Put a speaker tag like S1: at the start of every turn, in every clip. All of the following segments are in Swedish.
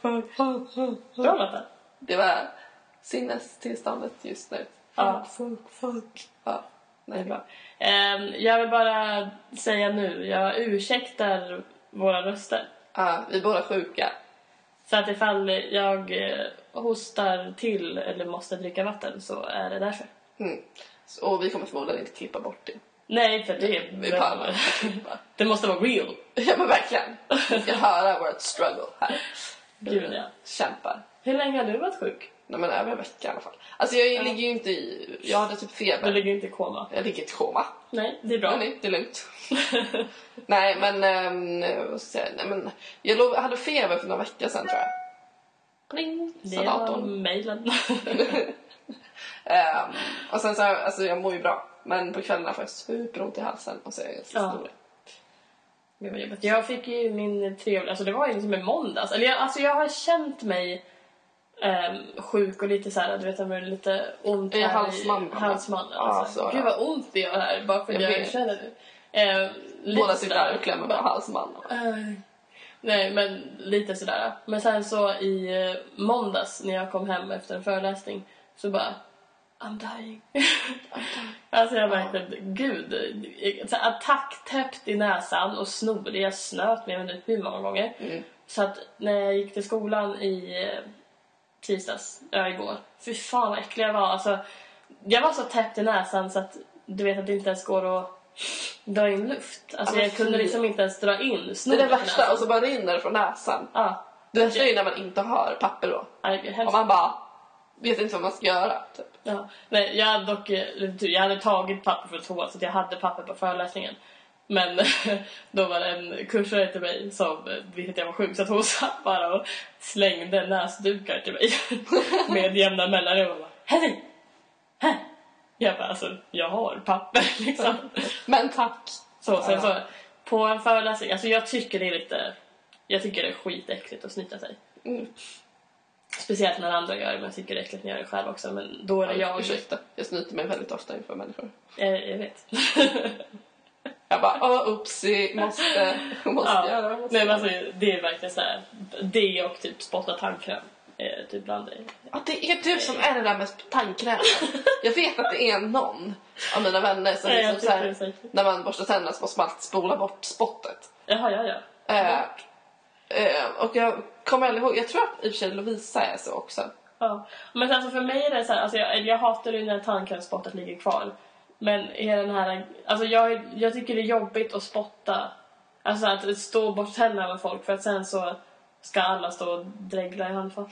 S1: Bra låtar.
S2: Det var sinnestillståndet just nu.
S1: Ja.
S2: fuck, fuck. Ja,
S1: Det är
S2: nej.
S1: bra. Ehm, jag vill bara säga nu, jag ursäktar våra röster.
S2: Ja, vi är båda sjuka.
S1: Så att ifall jag eh, hostar till eller måste dricka vatten så är det därför.
S2: Mm. Så- Och vi kommer förmodligen inte klippa bort det.
S1: Nej, för det
S2: Vi pallar inte klippa.
S1: Det måste vara real.
S2: Ja men verkligen. Vi ska höra vårt struggle här.
S1: Gud, ja.
S2: Kämpar.
S1: Hur länge har du varit sjuk?
S2: Nej men över en vecka i alla fall. Alltså jag ligger ju inte i... Jag hade typ
S1: Du
S2: feber.
S1: ligger inte i koma.
S2: Jag ligger i ett koma.
S1: Nej, det är
S2: Ja.
S1: bra.
S2: Nej, det är lugnt. Nej men... ehm, vad ska jag säga? Nej, men jag lov, hade feber för några veckor sedan tror jag.
S1: Pling! Det
S2: Sa
S1: var
S2: datorn.
S1: mejlen.
S2: Ehm, och sen så, alltså jag mår ju bra. Men på kvällarna får jag superont i halsen och så är jag ganska
S1: Ja.
S2: snorig.
S1: Det var jobbigt. Jag fick ju min trevliga... Alltså det var ju liksom i måndags. Eller jag, alltså jag har känt mig ehm, sjuk och lite så här, du vet, med lite ont
S2: I
S1: här
S2: halsmandlarna.
S1: halsmandeln.
S2: Eh, Ja,
S1: Alltså.
S2: så är det.
S1: Gud vad ont det gör här bara för att
S2: Jag
S1: jag,
S2: vet.
S1: känner det. Ehm, lite Eh,
S2: Båda
S1: så
S2: sitter där och klämmer på halsmannen.
S1: Aj. Nej, men lite sådär. Men sen så i eh, måndags när jag kom hem efter en föreläsning så bara I'm dying. alltså jag märkte, gud. Så här, attack täppt i näsan och snorig. Jag snöt mig, jag vet inte hur många gånger.
S2: Mm.
S1: Så att när jag gick till skolan i eh, tisdags, ja igår. Fy fan vad äcklig jag var. Alltså, jag var så täppt i näsan så att du vet att det inte ens går att dra in luft. Alltså
S2: Ja, men
S1: jag kunde
S2: fy.
S1: liksom inte ens dra in
S2: Det är
S1: snoren
S2: det
S1: i näsan.
S2: värsta och så bara rinner det från näsan.
S1: Ja,
S2: Det värsta är ju när man inte har papper då.
S1: nej, det är
S2: Och
S1: hemskt.
S2: man bara vet inte vad man ska göra. Typ.
S1: Ja. Nej, jag, hade dock, eh, lite tur. jag hade tagit papper från toa så att jag hade papper på föreläsningen. Men då var det en kursare till mig som eh, visste att jag var sjuk så att hon satt bara och slängde näsdukar till mig med jämna mellanrum. Och bara, Henning! Här! Jag bara, alltså jag har papper liksom.
S2: Men tack.
S1: Så, sen
S2: Ja.
S1: så, på en föreläsning, alltså jag tycker det är lite, jag tycker det är skitäckligt att snyta sig.
S2: Mm.
S1: Speciellt när andra gör det, men jag tycker det är äckligt när jag gör det själv också. Men då är det jag.
S2: Ursäkta, jag snyter mig väldigt ofta inför människor.
S1: Jag, jag vet.
S2: Jag bara, åh upsi, måste, måste göra.
S1: ja.
S2: Måste.
S1: Nej, men alltså, det är verkligen så här. Det och typ spotta tandkräm. eh, Typ bland dig.
S2: Ja, det är du som är det där med tandkrämen. jag vet att det är någon av mina vänner som
S1: Nej, jag
S2: liksom så här,
S1: tycker det är säkert.
S2: när man borstar tänderna så måste man alltid spola bort spottet.
S1: Jaha, ja, ja.
S2: Eh, eh, och jag kommer aldrig ihåg, jag tror att i och för sig Lovisa är så också.
S1: ja. Men alltså för mig är det så här, alltså jag, jag hatar ju när tandkrämsspottet ligger kvar. Men är den här, alltså jag, jag tycker det är jobbigt att spotta. Alltså att stå bort tänderna med folk för att sen så ska alla stå och dregla i handfat.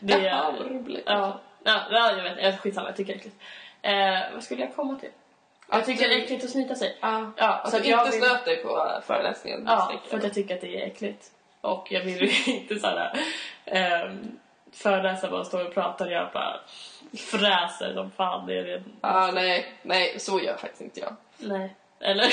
S1: Det
S2: Jaha,
S1: är...
S2: vad roligt.
S1: Ja, ja, ja jag vet. Jag, skitsamma, jag tycker det är äckligt. Eh, vad skulle jag komma till? Jag
S2: Att
S1: tycker
S2: du-
S1: det är äckligt att snyta sig.
S2: Ja,
S1: Ja,
S2: att du
S1: så att
S2: inte
S1: jag
S2: vill...
S1: vill-
S2: snöt dig på föreläsningen.
S1: Ja,
S2: misstänker
S1: för att
S2: jag.
S1: jag tycker att det är äckligt. Och jag vill ju inte såhär eh, föreläsa bara stå och prata och jag bara fräser som fan. Det är det.
S2: Ja, nej, nej, så gör faktiskt inte jag
S1: Nej. Eller?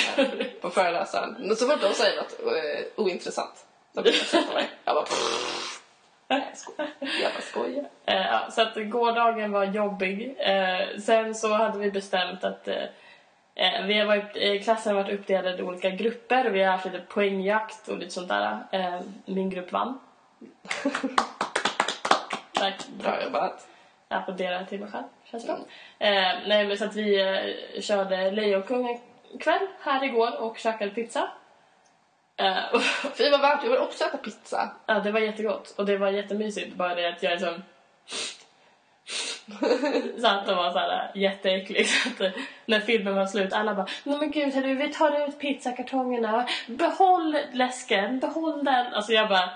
S2: på föreläsaren. Men så fort de säger något eh, ointressant så blir jag så på mig. Jag bara... pff, nej, jag skojar. Jag bara skojar.
S1: Eh, ja, så att gårdagen var jobbig. Eh, sen så hade vi bestämt att eh, eh, vi har varit, eh, klassen har varit uppdelad i olika grupper och vi har haft lite poängjakt och lite sånt där. Eh, min grupp vann. Tack.
S2: Bra jobbat.
S1: applådera till mig själv, känns det eh, Nej men så att vi eh, körde Lejonkungen kväll här igår och käkade pizza. Eh, och,
S2: Fy vad värt, jag vill också äta pizza.
S1: ja, det var jättegott och det var jättemysigt, bara det att jag är som... Satt och var såhär jätteäcklig. Så att, eh, när filmen var slut, alla bara Nej men gud hörru, vi tar ut pizzakartongerna, behåll läsken, behåll den. Alltså jag bara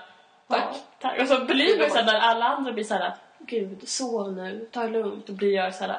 S2: Tack.
S1: Ja, tack. Och så blir man såhär när alla andra blir såhär Gud, sov nu, ta det lugnt. Då blir jag såhär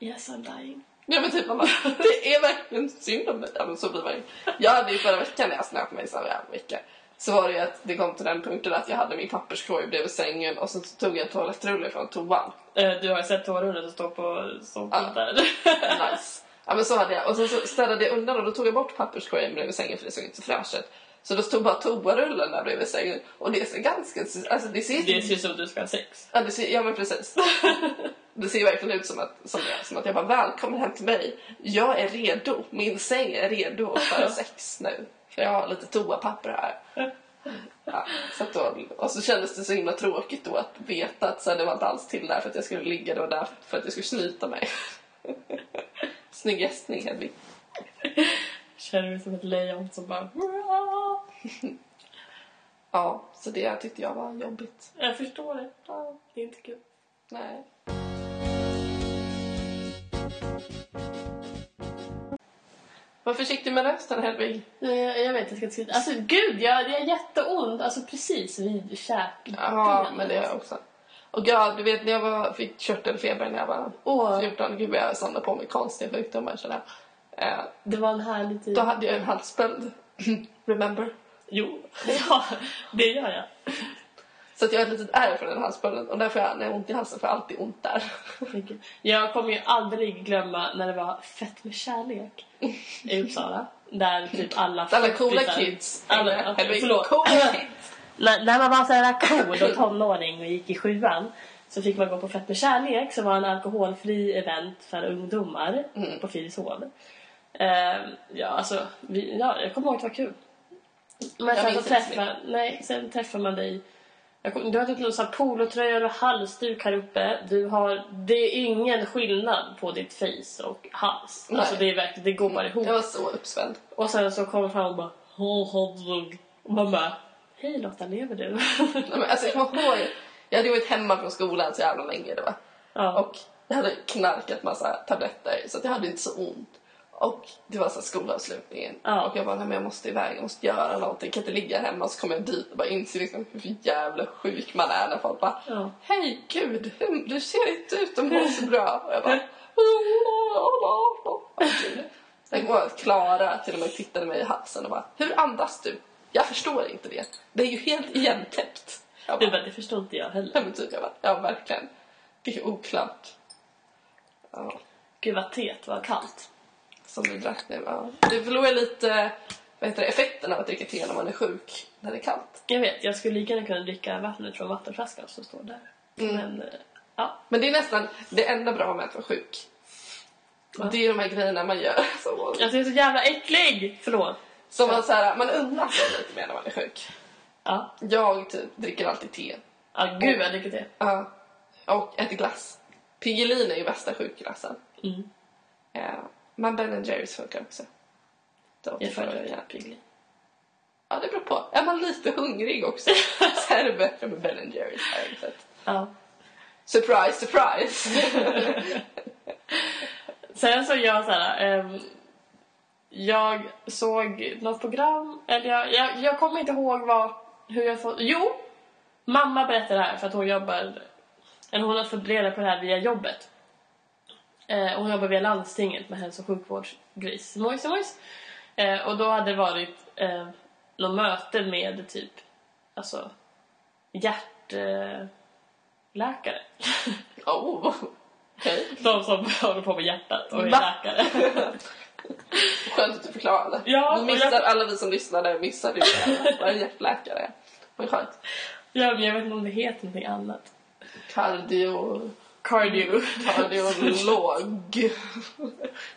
S1: Yes I'm dying.
S2: Ja men typ man bara, det är verkligen synd om mig. Ja, men så blir man ju. Jag hade ju förra veckan när jag snöt mig så här en vecka. Så var det ju att det kom till den punkten att jag hade min papperskorg bredvid sängen och sen så tog jag en toalettrulle från toan.
S1: Eh, Du har ju sett tårullen som står på soffan där.
S2: Nice. Ja men så hade jag. Och sen så städade jag undan och då tog jag bort papperskorgen bredvid sängen för det såg inte så fräscht ut. Så då stod bara toarullen där bredvid sängen och det ser ganska, alltså det ser
S1: Det ser ut som du ska ha sex.
S2: Ja, det ser, ja men precis. Det ser verkligen ut som att, som, jag- som att jag bara välkommen hem till mig. Jag är redo. Min säng är redo för sex nu. För jag har lite toapapper här. Ja, så att då, och så kändes det så himla tråkigt då att veta att så här, det var inte alls till där för att jag skulle ligga, det var där för att jag skulle snyta mig. Snygg gästning Hedvig.
S1: Känner mig som ett lejon som bara...
S2: Ja, så det tyckte jag var jobbigt.
S1: Jag förstår det.
S2: Ja,
S1: Det är inte kul.
S2: nej. Var försiktig med rösten Hedvig.
S1: Eh, Jag vet, jag ska inte skriva. Alltså gud, jag, det är jätteont. Alltså precis vid käken.
S2: Ja, men det är jag också. Och jag, du vet när jag var, fick körtelfeber när jag var
S1: Åh,
S2: 14, gud vad jag samlade på mig konstiga sjukdomar sådär. Eh,
S1: det var en härlig tid.
S2: Då hade jag en halsböld. Remember?
S1: Jo, ja, det gör jag.
S2: Så att jag har ett litet ärr från den halsbölden och därför jag, när jag har ont i halsen får jag alltid ont där.
S1: Herregud. Jag kommer ju aldrig glömma när det var Fett med kärlek i Uppsala. Där typ alla
S2: Alla coola
S1: 40-tal
S2: kids.
S1: Alla, alltså,
S2: Eller,
S1: förlåt.
S2: Coola kids.
S1: när, när man var så här cool och tonåring och gick i sjuan så fick man gå på Fett med kärlek som var en alkoholfri event för ungdomar
S2: Mm.
S1: på Fyrishov. Ehm, ja, alltså, vi, ja, jag kommer ihåg att det var kul. Men
S2: Jag
S1: sen, så
S2: minns inte så
S1: träffar, nej, sen träffar man dig. Jag kom, du har typ någon sån här polotröja och halsduk här uppe. Du har, det är ingen skillnad på ditt face och hals.
S2: Nej.
S1: Alltså, det, är verkligen, det går bara ihop.
S2: Jag var så uppspänd.
S1: Och sen så kommer fram och bara "Hon hotdog. Och man bara Hej Lotta, lever du?
S2: Nej, men Alltså, jag kommer ihåg, jag hade varit hemma från skolan så jävla länge. Det var.
S1: ja.
S2: Och jag hade knarkat massa tabletter så att jag hade inte så ont. Och det var så här skolavslutningen.
S1: Ja.
S2: Och jag bara, nej men jag måste iväg, jag måste göra någonting. Jag kan inte ligga hemma. Så kom jag dit och bara inser liksom hur jävla sjuk man är när folk bara,
S1: Ja.
S2: hej gud, hur- du ser inte ut att må så bra. Och jag bara, "Åh, åh, åh." Sen går jag att Klara till och med tittade mig i halsen och bara, hur andas du? Jag förstår inte det. Det är ju helt igentäppt. Jag bara,
S1: Du bara, det förstår inte jag heller.
S2: Ja, men typ, jag bara, ja verkligen. Det är oklart. Ja,
S1: Gud vad teet var kallt.
S2: som du drack nu. Ja. Du förlorar lite vad heter det, effekten av att dricka te när man är sjuk, när det är kallt.
S1: Jag vet, jag skulle lika gärna kunna dricka vattnet från vattenflaskan som står där.
S2: Mm.
S1: Men eh, ja,
S2: Men det är nästan det enda bra med att vara sjuk. Det är de här grejerna man gör. Som,
S1: jag är så jävla äcklig! Förlåt.
S2: som man, så här, man undrar sig lite mer när man är sjuk.
S1: Ja,
S2: Jag typ, dricker alltid te.
S1: ja gud vad jag dricker te.
S2: Ja. Och äter glass. Piggelin är ju bästa sjukglassen.
S1: Mm.
S2: Ja. Men Ben Jerrys funkar också. Då
S1: Jag
S2: får
S1: föredrar
S2: jag-
S1: ju Piggly.
S2: Ja, det beror på. Är man lite hungrig också så är det bättre med Ben Jerrys. har jag sett.
S1: Ja.
S2: Surprise, surprise!
S1: Sen så jag så här... ehm, jag såg något program, eller jag, jag, jag kommer inte ihåg var, hur jag fått... Jo! Mamma berättade det här för att hon jobbar... Eller hon har fått reda på det här via jobbet. Eh, hon jobbar via landstinget med hälso och sjukvårdsgris. Mojs, mojs. Eh, och då hade det varit eh, något möte med typ alltså hjärtläkare. Eh, läkare.
S2: Oh, okej.
S1: De som håller på med hjärtat och är
S2: Va?
S1: läkare.
S2: Skönt att du förklarade.
S1: Ja,
S2: vi
S1: och
S2: missar,
S1: jag-
S2: Alla vi som lyssnade missade ju det. Vad en hjärtläkare är. Vad skönt.
S1: Ja, men jag vet inte om det heter någonting annat.
S2: Cardio...
S1: Cardio.
S2: Kardiolog.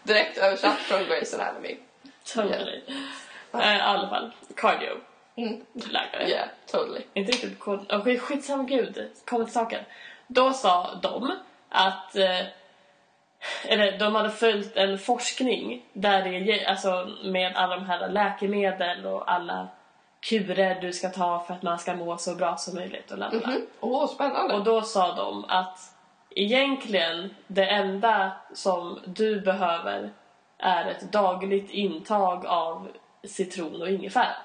S2: Direkt översatt från Grey's Anatomy.
S1: totally. Eh, I alla fall, cardio.
S2: Mm.
S1: Läkare.
S2: Yeah, totally.
S1: Inte riktigt kod... Oh, skitsamma, gud. Kommer till saken. Då sa de att... Eh, eller de hade följt en forskning där det ge- alltså med alla de här läkemedel och alla kurer du ska ta för att man ska må så bra som möjligt och bla bla bla.
S2: Mm. Åh, spännande.
S1: Och då sa de att egentligen det enda som du behöver är ett dagligt intag av citron och ingefära.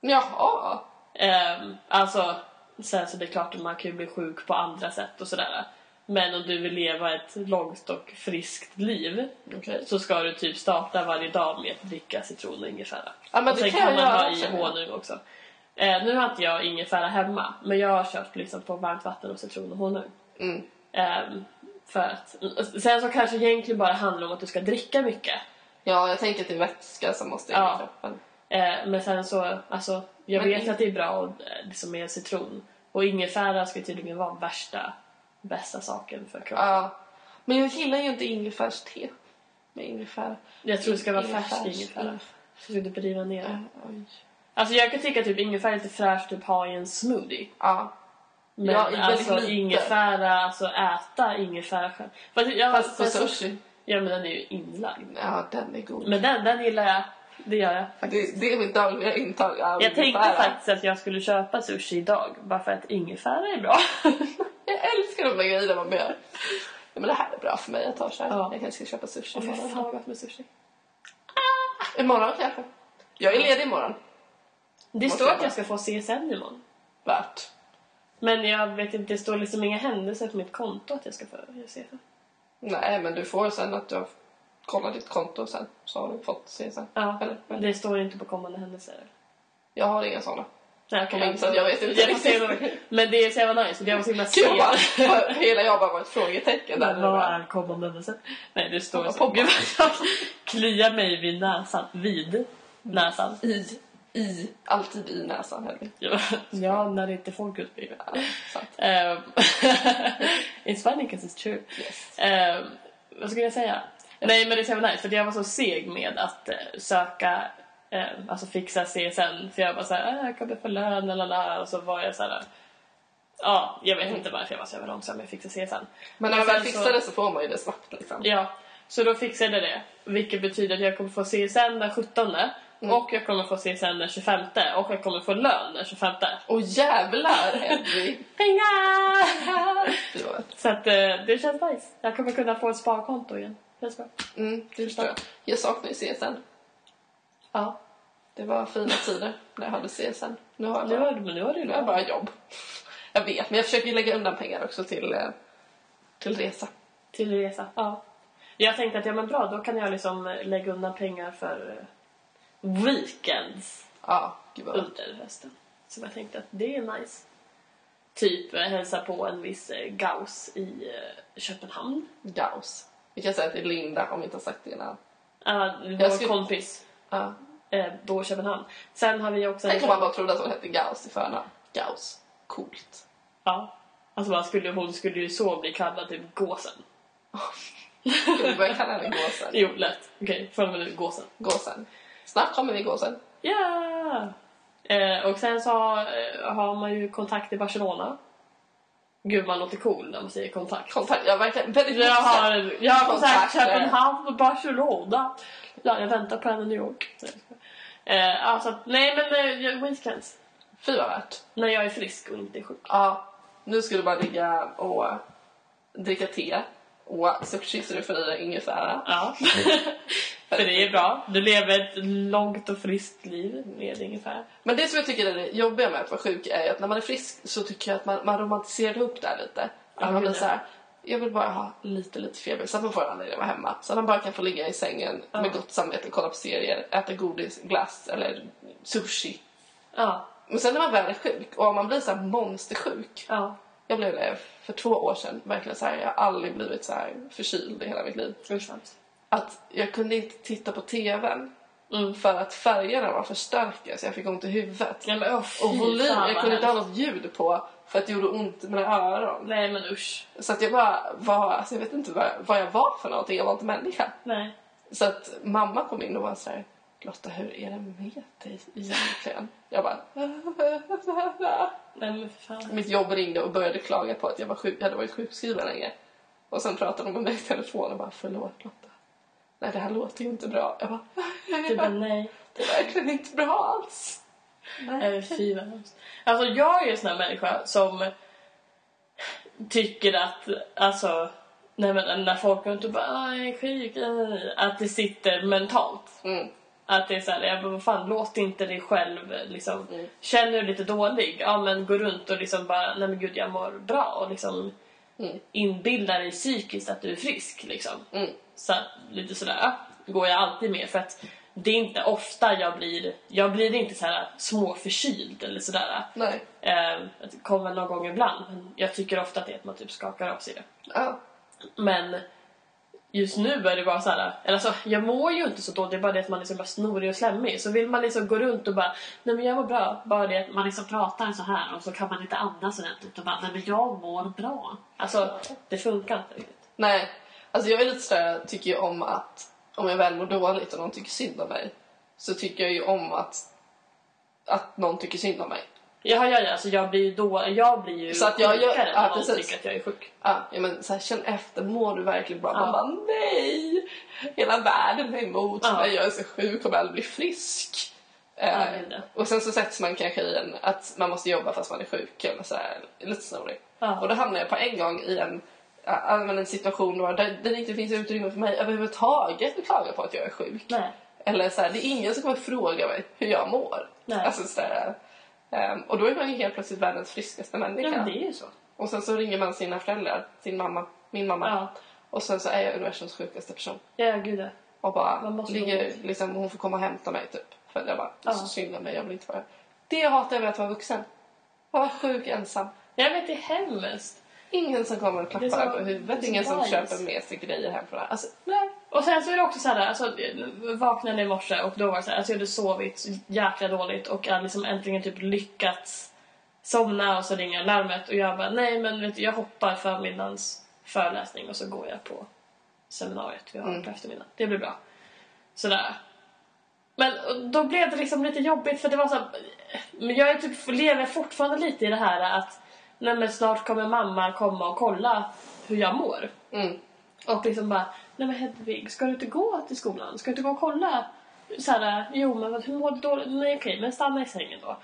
S2: Jaha.
S1: Ehm, alltså, sen så det är klart att man kan ju bli sjuk på andra sätt och sådär. Men om du vill leva ett långt och friskt liv
S2: Okej.
S1: så ska du typ starta varje dag med att dricka citron och ingefära.
S2: Ja, men
S1: och
S2: det
S1: sen
S2: kan
S1: kan,
S2: jag
S1: man
S2: göra
S1: ha i
S2: också.
S1: honung också. Eh, nu har inte jag ingefära hemma, men jag har kört liksom på varmt vatten och citron och honung.
S2: Mm.
S1: Ehm, för att, sen så kanske det egentligen bara handlar om att du ska dricka mycket.
S2: Ja, jag tänker att det är vätska som måste in
S1: Ja.
S2: i kroppen.
S1: Eh, men sen så, alltså, jag
S2: Men-
S1: vet att det är bra och, eh, liksom med citron. Och ingefära ska tydligen vara värsta, bästa saken för kroppen.
S2: Ja. Men jag gillar ju inte ingefärste. Med ingefära.
S1: jag tror det ska vara
S2: Ingefärs- Mm.
S1: färsk ingefära. Så ska du inte riva ner
S2: Ja,
S1: det.
S2: oj.
S1: Alltså jag kan tycka typ ingefära är lite fräscht typ ha i en smoothie.
S2: Ja.
S1: Men
S2: Ja, väldigt
S1: alltså
S2: lite.
S1: ingefära, alltså äta ingefära själv. Fast, jag,
S2: Fast på
S1: fast-
S2: sushi.
S1: Ja men den är ju inlagd.
S2: Ja, den är god.
S1: Men den, den gillar jag. Det gör jag.
S2: det, det är mitt dagliga intag av
S1: Jag tänkte
S2: ingefära.
S1: faktiskt att jag skulle köpa sushi idag bara för att ingefära är bra.
S2: Jag älskar de där grejerna man gör. Ja, men det här är bra för mig. Jag tar så här.
S1: Ja.
S2: Jag kanske ska köpa sushi
S1: fy
S2: imorgon.
S1: fan, vad
S2: gott med sushi. Imorgon kanske. Jag är ledig imorgon.
S1: Det
S2: Måste
S1: står
S2: jag
S1: att
S2: bara-
S1: jag ska få CSN imorgon.
S2: Värt.
S1: Men jag vet inte, det står liksom inga händelser på mitt konto att jag ska få CSN.
S2: Nej, men du får sen att du har kollat ditt konto sen. Så har du fått CSN.
S1: Ja,
S2: Eller, men
S1: det står ju inte på kommande händelser.
S2: jag har inga sådana.
S1: Nej,
S2: Kom in, så att jag vet inte
S1: får se
S2: riktigt.
S1: vad- Men det är så jävla nice. för Jag var så himla
S2: Gud, jag
S1: sen.
S2: bara, hela jag bara var ett frågetecken där. nu.
S1: Vad är kommande händelser? Nej, det står
S2: Vad
S1: så.
S2: poppar?
S1: Gud, vad jag kliar mig vid näsan. Vid näsan.
S2: I, i, alltid i näsan. Helvete.
S1: Ja, när det inte är folk ute på bilen.
S2: Ja, sant.
S1: Um, it's funny because it's true.
S2: Yes.
S1: Ehm, vad skulle jag säga? Nej, men det är så jävla nice. För jag var så seg med att eh, söka, eh, alltså fixa CSN. För jag var så här, "Ah, jag kommer få lön, lalala. Och så var jag så här, ja, jag vet inte varför jag var så jävla långsam med att fixa CSN.
S2: Men när man
S1: sen
S2: väl
S1: så-
S2: fixar det så får man ju det snabbt. Liksom.
S1: Ja, så då fixade jag det. Vilket betyder att jag kommer få CSN den 17 och jag kommer få CSN den 25 och jag kommer få lön den 25.
S2: Åh jävlar, Hedvig!
S1: Pengar!
S2: Du var-
S1: Så att, eh, det känns nice. Jag kommer kunna få ett sparkonto igen. Känns bra.
S2: Mm, det förstår jag. Jag saknar ju CSN.
S1: Ja.
S2: Det var fina tider när jag hade CSN. Nu har jag
S1: Nu
S2: bara,
S1: har, men nu har du ju
S2: nu har jag
S1: lön.
S2: bara jobb. Jag vet, men jag försöker ju lägga undan pengar också till, eh, till resa.
S1: Till resa. Ja. Jag tänkte att ja men bra, då kan jag liksom eh, lägga undan pengar för eh, weekends
S2: Ja, gud vad
S1: under hösten. Så jag tänkte att det är nice. Typ eh, hälsa på en viss eh, Gauss i eh, Köpenhamn.
S2: Gaus. Vi kan säga att det är Linda om vi inte har sagt det innan.
S1: Uh, vår
S2: skulle-
S1: kompis
S2: Ja.
S1: eh, då i Köpenhamn. Sen har vi också...
S2: Tänk om man bara trodde att hon hette Gaus i förnamn. Gaus. Coolt.
S1: Ja. Alltså man skulle, hon skulle ju så bli kallad typ Gåsen.
S2: Ska vi börja kalla henne Gåsen?
S1: Jo, lätt. Okej, från och med nu Gåsen.
S2: Gåsen. Snart kommer vi Gåsen.
S1: Ja! Eh, och sen så eh, har man ju kontakt i Barcelona. Gud, man låter cool när man säger kontakt.
S2: Kontakt. Jag verkar väldigt
S1: Jag har, jag har kontakt
S2: Kontakter.
S1: Köpenhamn och Barcelona. Ja, jag väntar på henne i New York. Eh, alltså, nej, men eh, weekends.
S2: Fy vad värt.
S1: När jag är frisk och inte är sjuk.
S2: Ja, nu ska du bara ligga och dricka te och sushi så du får i dig ingefära.
S1: Ja. För det är bra. Du lever ett långt och friskt liv med ungefär.
S2: Men det som jag tycker är det jobbiga med att vara sjuk är ju att när man är frisk så tycker jag att man, man romantiserar ihop det här lite.
S1: Ja,
S2: Att man blir
S1: gud,
S2: så här, jag vill bara ha lite, lite feber så att man får en anledning att vara hemma. Så att man bara kan få ligga i sängen med gott samvete, kolla på serier, äta godis, glass eller sushi.
S1: Ja,
S2: Men sen när man väl är sjuk och om man blir så här monstersjuk.
S1: ja.
S2: Jag blev det för två år sedan. Verkligen så här, jag har aldrig blivit så här förkyld i hela mitt liv.
S1: Usch vad hemskt.
S2: att jag kunde inte titta på tvn
S1: Mm.
S2: för att färgerna var för starka så jag fick ont i huvudet.
S1: Ja, men, oh,
S2: Och
S1: fy
S2: volym,
S1: fan,
S2: jag
S1: vad
S2: kunde inte ha
S1: hemskt.
S2: något ljud på för att det gjorde ont i mina öron.
S1: Nej, men usch.
S2: Så att jag bara var, alltså jag vet inte vad, vad jag var för någonting, jag var inte människa.
S1: Nej.
S2: Så att mamma kom in och var så här, Lotta hur är det med dig egentligen? Jag bara...
S1: Nej, men för fan.
S2: Mitt jobb ringde och började klaga på att jag, var sjuk, jag hade varit sjukskriven länge. Och sen pratade de med mig i telefon och bara förlåt Lotta. Nej det här låter ju inte bra. Jag bara...
S1: Du Typ bara nej.
S2: Det är verkligen inte bra alls.
S1: Eh, Fy vad hemskt. Alltså jag är ju en sån här människa som tycker att, alltså, nej men när folk går runt och bara "Ah, jag är sjuk, eh", att det sitter mentalt.
S2: Mm.
S1: Att det är såhär, jag bara, vad fan låt inte dig själv liksom,
S2: Mm.
S1: känner du dig lite dålig, ja men gå runt och liksom bara, nej men gud jag mår bra och liksom
S2: Mm.
S1: inbilda dig psykiskt att du är frisk liksom.
S2: Mm.
S1: Så att, lite sådär går jag alltid med för att det är inte ofta jag blir, jag blir inte så här småförkyld eller sådär.
S2: Nej.
S1: Eh, det kommer någon gång ibland men jag tycker ofta att det är att man typ skakar av sig det.
S2: Ja.
S1: Men just nu är det bara så här, eller alltså jag mår ju inte så dåligt, det är bara det att man liksom bara snorig och slemmig. Så vill man liksom gå runt och bara, nej men jag mår bra. Bara det att man liksom pratar så här och så kan man inte andas ordentligt och bara, nej men jag mår bra. Alltså det funkar inte riktigt.
S2: Nej. Alltså jag är lite sådär, tycker ju om att om jag väl mår dåligt och någon tycker synd om mig så tycker jag ju om att att någon tycker synd om mig.
S1: Jaha, ja, ja. Alltså jag blir ju då... Jag blir ju
S2: Så att jag gör-
S1: sjukare
S2: ja,
S1: när någon
S2: precis.
S1: tycker att jag är sjuk.
S2: Ja, ja, men så här, känn efter, mår du verkligen bra? Man
S1: Ja.
S2: bara nej! Hela världen är emot
S1: Ja.
S2: mig, jag är så sjuk, kommer aldrig bli frisk.
S1: Ja,
S2: Eh,
S1: det är det.
S2: och sen så sätts man kanske i en att man måste jobba fast man är sjuk eller så här, lite snorig.
S1: Ja.
S2: Och då hamnar jag på en gång i en, ja, men en situation då, där där det inte finns utrymme för mig överhuvudtaget att klaga på att jag är sjuk.
S1: Nej.
S2: Eller så här, det är ingen som kommer fråga mig hur jag mår.
S1: Nej.
S2: Alltså, så här, ehm, och då är man ju helt plötsligt världens friskaste människa.
S1: Ja, men det är ju så.
S2: Och sen så ringer man sina föräldrar, sin mamma, min mamma.
S1: Ja.
S2: Och sen så är jag universums sjukaste person.
S1: Ja, gud ja.
S2: Och bara
S1: Man måste
S2: ligger,
S1: gå.
S2: liksom, hon får komma och hämta mig typ. För att jag bara, det är så
S1: Ja.
S2: synd om mig, jag vill inte vara Det hatar jag med att vara vuxen. Att vara sjuk ensam.
S1: Jag vet, det är hemskt.
S2: Ingen som kommer och klappar
S1: Det är så-
S2: en på huvudet.
S1: det är
S2: Ingen
S1: så
S2: som
S1: bajs.
S2: köper med sig grejer hem från alltså,
S1: Nej. Och sen så är det också så här, alltså, jag vaknade i morse och då var det så här, alltså jag hade sovit så jäkla dåligt och jag hade liksom äntligen typ lyckats somna och så ringer larmet och jag bara, nej men vet du, jag hoppar förmiddagens föreläsning och så går jag på seminariet vi har på eftermiddagen. Det blir bra. Sådär. Men och då blev det liksom lite jobbigt för det var så här, men jag är typ, lever fortfarande lite i det här att nej men snart kommer mamma komma och kolla hur jag mår.
S2: Mm.
S1: Och liksom bara, nej men Hedvig, ska du inte gå till skolan? Ska du inte gå och kolla? Så här, jo men vad- hur mår du dåligt? Nej okej, men stanna i sängen då.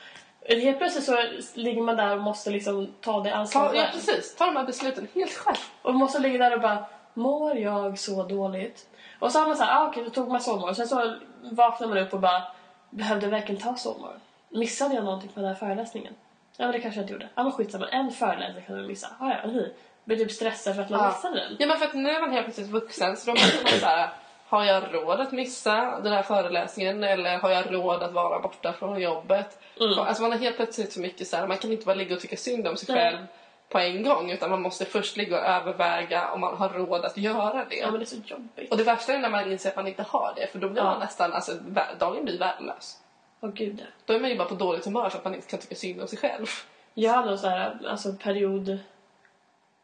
S1: Helt plötsligt så ligger man där och måste liksom ta det ansvaret
S2: ta, ja,
S1: själv.
S2: precis. Ta de här besluten helt själv.
S1: Och måste ligga där och bara, mår jag så dåligt? Och så har man så här, ah, okej då tog man sovmorgon. Sen så vaknar man upp och bara, behövde jag verkligen ta sovmorgon? Missade jag någonting på den här föreläsningen? Ja men det kanske jag inte gjorde. Ja men skitsamma, en föreläsning kan man missa. Ah, ja, nej. Blir typ stressad för att man missade den.
S2: Ja, men för att nu är man helt plötsligt vuxen så då måste man så här, har jag råd att missa den här föreläsningen eller har jag råd att vara borta från jobbet?
S1: Mm.
S2: Alltså man har helt plötsligt så mycket så här, man kan inte bara ligga och tycka synd om sig
S1: Nej.
S2: själv på en gång utan man måste först ligga och överväga om man har råd att göra det.
S1: Ja men det är så jobbigt.
S2: Och det värsta är när man inser att man inte har det för då blir
S1: Ja.
S2: man nästan, alltså vä- dagen blir värdelös.
S1: Åh gud ja.
S2: Då är man ju bara på dåligt humör för att man inte kan tycka synd om sig själv.
S1: Jag hade en så här, alltså, period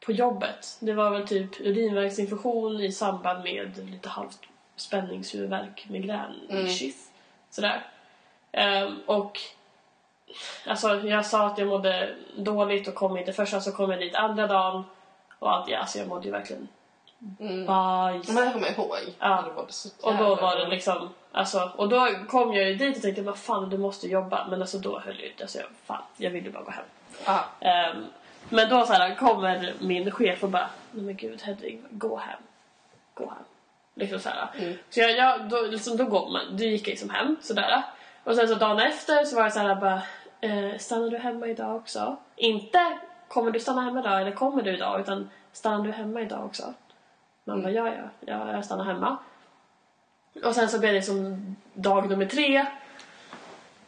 S1: på jobbet. Det var väl typ urinvägsinfektion i samband med lite halvt spänningshuvudvärk, migrän,
S2: Mm.
S1: kyss. Sådär. Ehm, och alltså, jag sa att jag mådde dåligt och kom inte första så kom jag dit andra dagen. Och allt, ja, alltså, jag mådde ju verkligen
S2: Mm.
S1: bajs.
S2: Men det här kommer jag ihåg.
S1: Ja.
S2: Det var så
S1: Och då
S2: jävla
S1: var det
S2: dåligt.
S1: liksom, alltså, och då kom jag ju dit och tänkte vad fan du måste jobba. Men alltså då höll jag ut, alltså jag, fan, jag ville bara gå hem.
S2: Ja.
S1: Ehm, men då så här, kommer min chef och bara, nej men gud Hedvig, gå hem. Gå hem. Liksom så här.
S2: Mm.
S1: Så jag, jag, då, liksom, då, går man, då gick jag liksom hem sådär. Och sen så dagen efter så var det så här bara, eh, stannar du hemma idag också? Inte kommer du stanna hemma idag eller kommer du idag? Utan stannar du hemma idag också? Man bara, ja, ja, ja, jag stannar hemma. Och sen så blev det som dag nummer tre.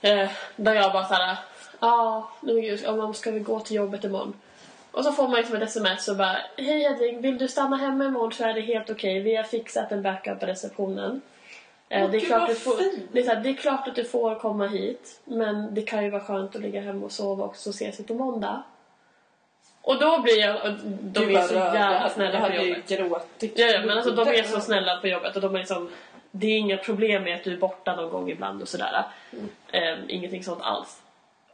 S1: Eh, där jag bara såhär, ja, nej men gud, ja, men ska vi gå till jobbet imorgon? Och så får man liksom ett sms och bara, hej Hedvig, vill du stanna hemma imorgon så är det helt okej. Vi har fixat en backup på receptionen. Eh,
S2: Åh,
S1: det, är
S2: gud,
S1: klart
S2: vad
S1: du får,
S2: fint.
S1: det, är så här, det är klart att du får komma hit, men det kan ju vara skönt att ligga hemma och sova också, så ses vi på måndag. Och då blir jag, och de
S2: Gud,
S1: är
S2: vad
S1: så
S2: rörd. Jag
S1: jävla
S2: hade-
S1: snälla
S2: Jag
S1: på
S2: hade
S1: jobbet.
S2: ju gråtit.
S1: Ja, ja, men alltså de är
S2: Mm.
S1: så snälla på jobbet och de är liksom det är inga problem med att du är borta någon gång ibland och sådär.
S2: Mm.
S1: Ehm, ingenting sånt alls.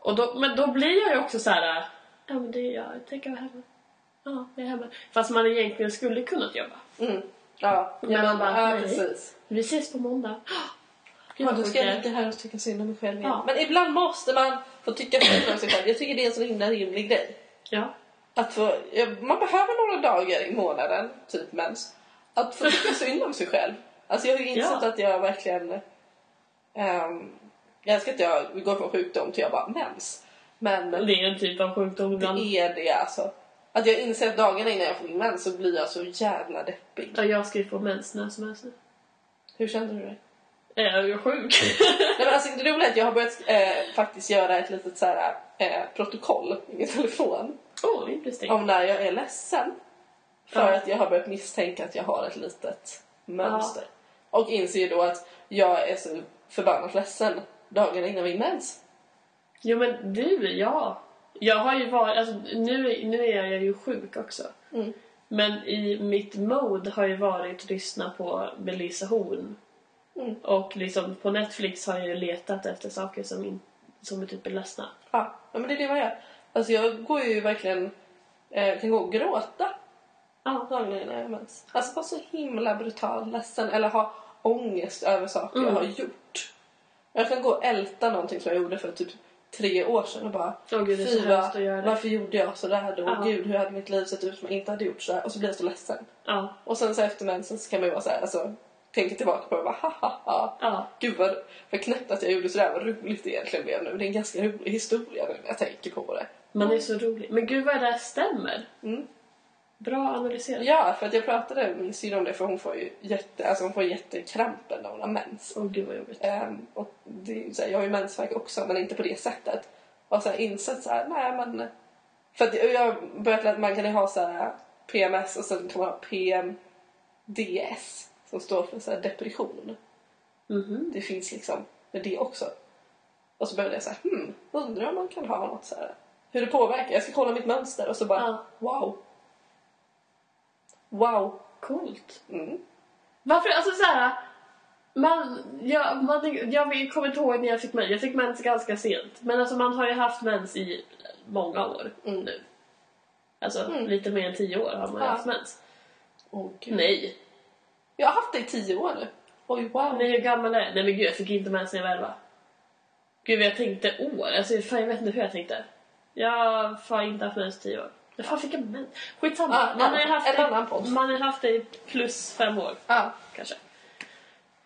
S1: Och då, men då blir jag ju också så här. ja men det är jag, jag tänker vara hemma. Ja, jag är hemma. Fast man egentligen skulle kunnat jobba.
S2: Mm. Ja,
S1: Men man bara,
S2: ja
S1: nej.
S2: precis.
S1: Vi ses på måndag.
S2: Ja,
S1: Gud, vad
S2: då
S1: sjukt
S2: ska jag
S1: det är.
S2: ligga här och tycka synd om mig själv igen.
S1: Ja.
S2: Men ibland måste man få tycka synd om sig själv. Jag tycker det är en så himla rimlig grej.
S1: Ja.
S2: Att få, ja, man behöver några dagar i månaden, typ mens, att få tycka synd om sig själv. Alltså jag har ju insett
S1: Ja.
S2: att jag verkligen... ehm, jag älskar att jag går från sjukdom till jag bara mens. Men
S1: Det är en typ av sjukdom ibland.
S2: det är det alltså. Att jag inser att dagarna innan jag får min mens så blir jag så jävla deppig.
S1: Ja, jag ska ju få mens när som helst nu.
S2: Hur känner du dig?
S1: Är jag ju sjuk?
S2: Nej, men alltså, det roliga är att jag har börjat eh, faktiskt göra ett litet så här, eh, protokoll i min telefon
S1: Åh, oh, intressant.
S2: om när jag är ledsen. För
S1: Ja.
S2: att jag har börjat misstänka att jag har ett litet mönster. Och inser ju då att jag är så förbannat ledsen dagarna innan min mens.
S1: Jo men du, ja. Jag har ju varit, alltså, nu, nu är jag ju sjuk också.
S2: Mm.
S1: Men i mitt mode har ju varit att lyssna på Melissa Horn.
S2: Mm.
S1: Och liksom på Netflix har jag ju letat efter saker som, in, som är typ är ledsna.
S2: Ja, ja, men det är det man gör. Alltså jag går ju verkligen... Eh, kan gå och gråta
S1: Ja.
S2: dagligen när jag har mens. Alltså vara så himla brutal ledsen eller ha ångest över saker jag
S1: Mm.
S2: har gjort. Jag kan gå och älta någonting som jag gjorde för typ tre år sedan och bara
S1: Åh gud, det är så
S2: Fy
S1: hemskt att göra
S2: vad,
S1: det.
S2: varför gjorde jag sådär då?
S1: Ja.
S2: Gud, hur hade mitt liv sett ut om jag inte hade gjort sådär? Och så blir jag så ledsen.
S1: Ja.
S2: Och sen så efter mensen så kan man ju vara såhär, alltså tänka tillbaka på det och bara ha ha ha.
S1: Ja.
S2: Gud vad, vad knäppt att jag gjorde sådär, vad roligt det egentligen blev nu. Det är en ganska rolig historia nu när jag tänker på det.
S1: Men det är så roligt. Men gud vad det där stämmer.
S2: Mm.
S1: Bra analyserat.
S2: Ja, för att jag pratade med min syrra om det för hon får ju jätte, alltså hon får jättekrampen när hon har mens.
S1: Åh gud vad jobbigt.
S2: Ehm, och det är ju så här, jag har ju mensvärk också men inte på det sättet. Och så här insett så här, nej men... För att jag har börjat lära att man kan ju ha så här PMS och sen kan man ha PMDS som står för så här depression.
S1: Mhm.
S2: Det finns liksom med det också. Och så började jag så här, hmm, undrar om man kan ha något så här. Hur det påverkar, jag ska kolla mitt mönster och så bara,
S1: Ja.
S2: wow. Wow.
S1: Coolt.
S2: Mm.
S1: Varför, alltså såhär. Man, jag, man, jag kommer inte ihåg när jag fick mens. Jag fick mens ganska sent. Men alltså man har ju haft mens i många år
S2: Mm.
S1: nu. Alltså
S2: Mm.
S1: lite mer än tio år har man ju
S2: Ja.
S1: haft mens.
S2: Åh, gud.
S1: Nej.
S2: Jag har haft det i tio år nu. Oj, wow.
S1: Nej hur gammal är Nej men gud jag fick inte mens när jag var elva. Gud jag tänkte år. Alltså fan jag vet inte hur jag tänkte. Jag har fan inte haft mens i tio år. Jag fan fick jag mens? Skitsamma.
S2: Ja,
S1: man, har ju
S2: en
S1: haft
S2: annan podd.
S1: det, man har ju haft det i plus fem år.
S2: Ja.
S1: kanske.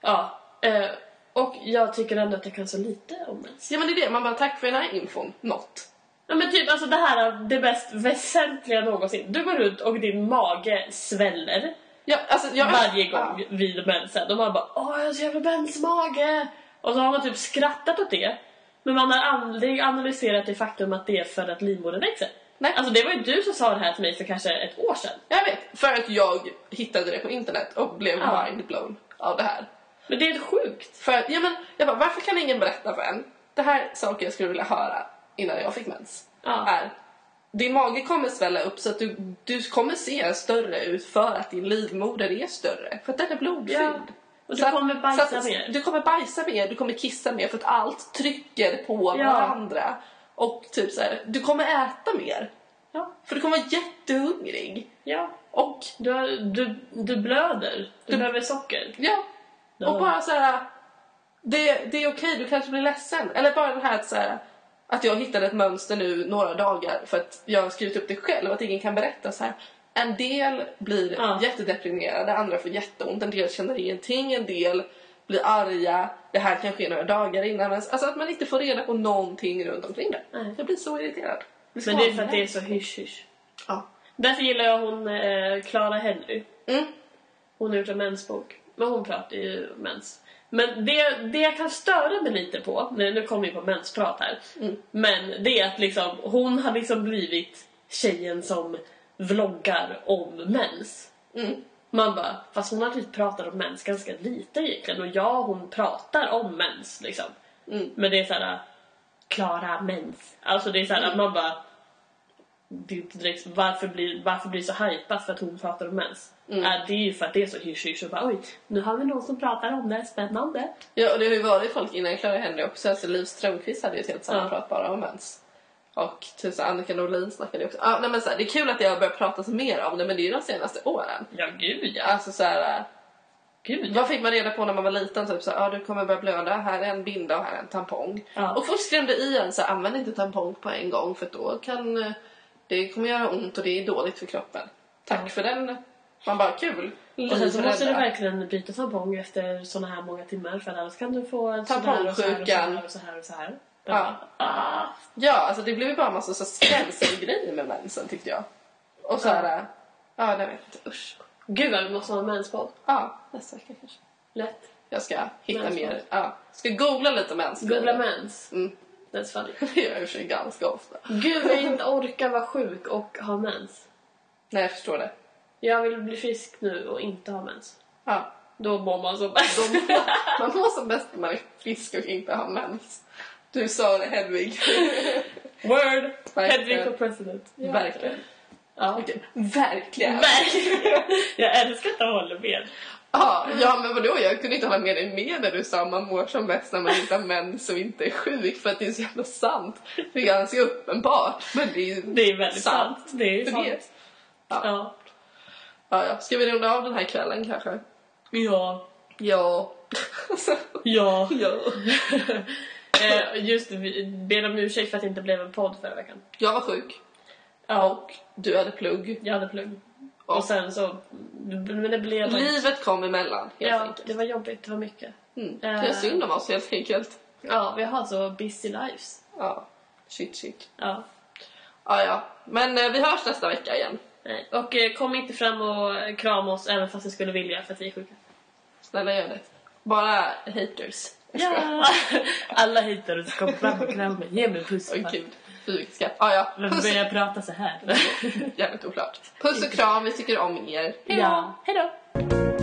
S1: Ja, eh, och jag tycker ändå att jag kan så lite om mens.
S2: ja, men det är det. Man bara, tack för den här infon. Något.
S1: Ja men typ alltså det här är det mest väsentliga någonsin. Du går runt och din mage sväller
S2: Ja, alltså, jag...
S1: varje gång
S2: Ja.
S1: vid mensen. Och man bara åh jag har så jävla mensmage! Och så har man typ skrattat åt det. Men man har aldrig analyserat det faktum att det är för att livmodern växer.
S2: Nej.
S1: Alltså det var ju du som sa det här till mig för kanske ett år sedan.
S2: Jag vet. För att jag hittade det på internet och blev
S1: Ja.
S2: mindblown av det här.
S1: Men det är helt sjukt.
S2: För att, ja, men, jag bara, varför kan ingen berätta för en? Det här är saker jag skulle vilja höra innan jag fick mens.
S1: Ja.
S2: Är, din mage kommer svälla upp så att du, du kommer se större ut för att din livmoder är större. För att den är blodfylld.
S1: Ja. Och du
S2: Så att-
S1: kommer
S2: så
S1: bajsa
S2: att-
S1: mer.
S2: Du kommer bajsa mer, du kommer kissa mer för att allt trycker på
S1: Ja.
S2: varandra. Och typ så här, du kommer äta mer.
S1: Ja.
S2: För du kommer vara jättehungrig.
S1: ja.
S2: Och
S1: Du, har, du, du blöder. Du,
S2: Du-
S1: behöver socker.
S2: ja, och
S1: Ja.
S2: bara så här. Det, det är okej, du kanske blir ledsen. Eller bara det här att, så här att jag hittade ett mönster nu några dagar för att jag har skrivit upp det själv att ingen kan berätta så här. En del blir
S1: Ja.
S2: jättedeprimerade, andra får jätteont, en del känner ingenting, en del blir arga. Det här kanske är några dagar innan. Men alltså att man inte får reda på någonting runt omkring det.
S1: Nej.
S2: Jag blir så irriterad.
S1: Men det är för att det är så hysch-hysch.
S2: Ja.
S1: Därför gillar jag hon eh, Clara Henry.
S2: Mm.
S1: Hon har gjort en mensbok. Men hon pratar ju mens. Men det, det jag kan störa mig lite på, nu nu kommer vi på mensprat här.
S2: Mm.
S1: Men det är att liksom, hon har liksom blivit tjejen som vloggar om mens.
S2: Mm.
S1: Man bara, fast hon har typ pratat om mens ganska lite egentligen. Och ja, hon pratar om mens liksom.
S2: Mm.
S1: Men det är såhär, Klara mens. Alltså det är såhär,
S2: Mm.
S1: man bara... Det är inte typ direkt, varför blir varför blir det så hypat för att hon pratar om mens? Äh, det är ju för att det är så hysch-hysch och bara oj, nu har vi någon som pratar om det, spännande.
S2: Ja, och det har ju varit folk innan Clara Henry också. Alltså Liv Strömquist hade ju ett helt sammanprat bara om mens. Och typ så Annika Norlin snackade ju också. Ah, nej, men så här, det är kul att det har börjat pratas mer om det, men det är ju de senaste åren.
S1: Ja, gud ja.
S2: Alltså så här,
S1: Gud ja.
S2: vad fick man reda på när man var liten? Typ så här, ah, du kommer börja blöda, här är en binda och här är en tampong.
S1: Ja.
S2: Och folk skrämde i en så här, använd inte tampong på en gång för då kan eh, det kommer göra ont och det är dåligt för kroppen. Tack
S1: Ja.
S2: för den. Man bara kul.
S1: Och sen så måste du
S2: Livrädda.
S1: verkligen byta tampong efter såna här många timmar för annars kan du få en sån här och så här och så
S2: Tampongsjukan.
S1: här och så här. Och så här.
S2: Ja.
S1: Ah.
S2: Ja, alltså det blev ju bara en massa så skrämselgrejer med mensen tyckte jag. Och så här, äh, ja, jag vet inte, usch.
S1: Gud vad vi måste ha en menspodd.
S2: Ja, nästa vecka kanske.
S1: Lätt.
S2: Jag ska hitta
S1: Mens.
S2: mer, ja. Ska googla lite mens.
S1: Googla mens.
S2: Mm.
S1: That's funny.
S2: Det gör jag i och för sig ganska ofta.
S1: Gud vad jag inte orkar vara sjuk och ha mens.
S2: Nej, jag förstår det.
S1: Jag vill bli frisk nu och inte ha mens.
S2: Ja.
S1: Då mår man som bäst.
S2: De, man mår som bäst när man är frisk och inte har mens. Du sa det Hedvig.
S1: Word!
S2: Verkligen.
S1: Hedvig och president. Ja.
S2: Verkligen.
S1: Ja.
S2: Verkligen.
S1: Verkligen. Jag älskar att han håller med.
S2: Ja, ja, men vadå? Jag kunde inte hålla med dig mer när du sa man mår som bäst när man hittar män som inte är sjuk för att det är så jävla sant. Det är ganska uppenbart, men det är,
S1: Det är väldigt sant. Det är
S2: Det
S1: sant.
S2: är. Ja.
S1: Ja.
S2: Ja, ja. Ska vi runda av den här kvällen kanske?
S1: Ja.
S2: Ja.
S1: Ja.
S2: ja.
S1: Eh, Just det, vi ber om ursäkt för att det inte blev en podd förra veckan.
S2: Jag var sjuk.
S1: Ja.
S2: Du hade plugg.
S1: Jag hade plugg.
S2: Ja.
S1: Och sen så... Men det blev...
S2: Livet kom emellan helt
S1: Ja,
S2: enkelt.
S1: det var jobbigt. Det var mycket.
S2: Mm. Det är
S1: Eh.
S2: synd om oss helt enkelt.
S1: Ja, vi har så busy lives.
S2: Ja. Shit, shit.
S1: Ja.
S2: Ja, ja. Men eh, vi hörs nästa vecka igen.
S1: Nej. Och eh, kom inte fram och krama oss även fast vi skulle vilja för att vi är sjuka.
S2: Snälla gör det. Bara haters. Jag skojar.
S1: Ja! Alla hittar och kom fram och kram mig. Ge mig en puss.
S2: Åh gud, fy vilket skratt. Ah, ja,
S1: Men
S2: puss,
S1: börjar prata så här.
S2: jävligt oklart. Puss och kram, vi tycker om er. Hej då!
S1: ja. Hej då!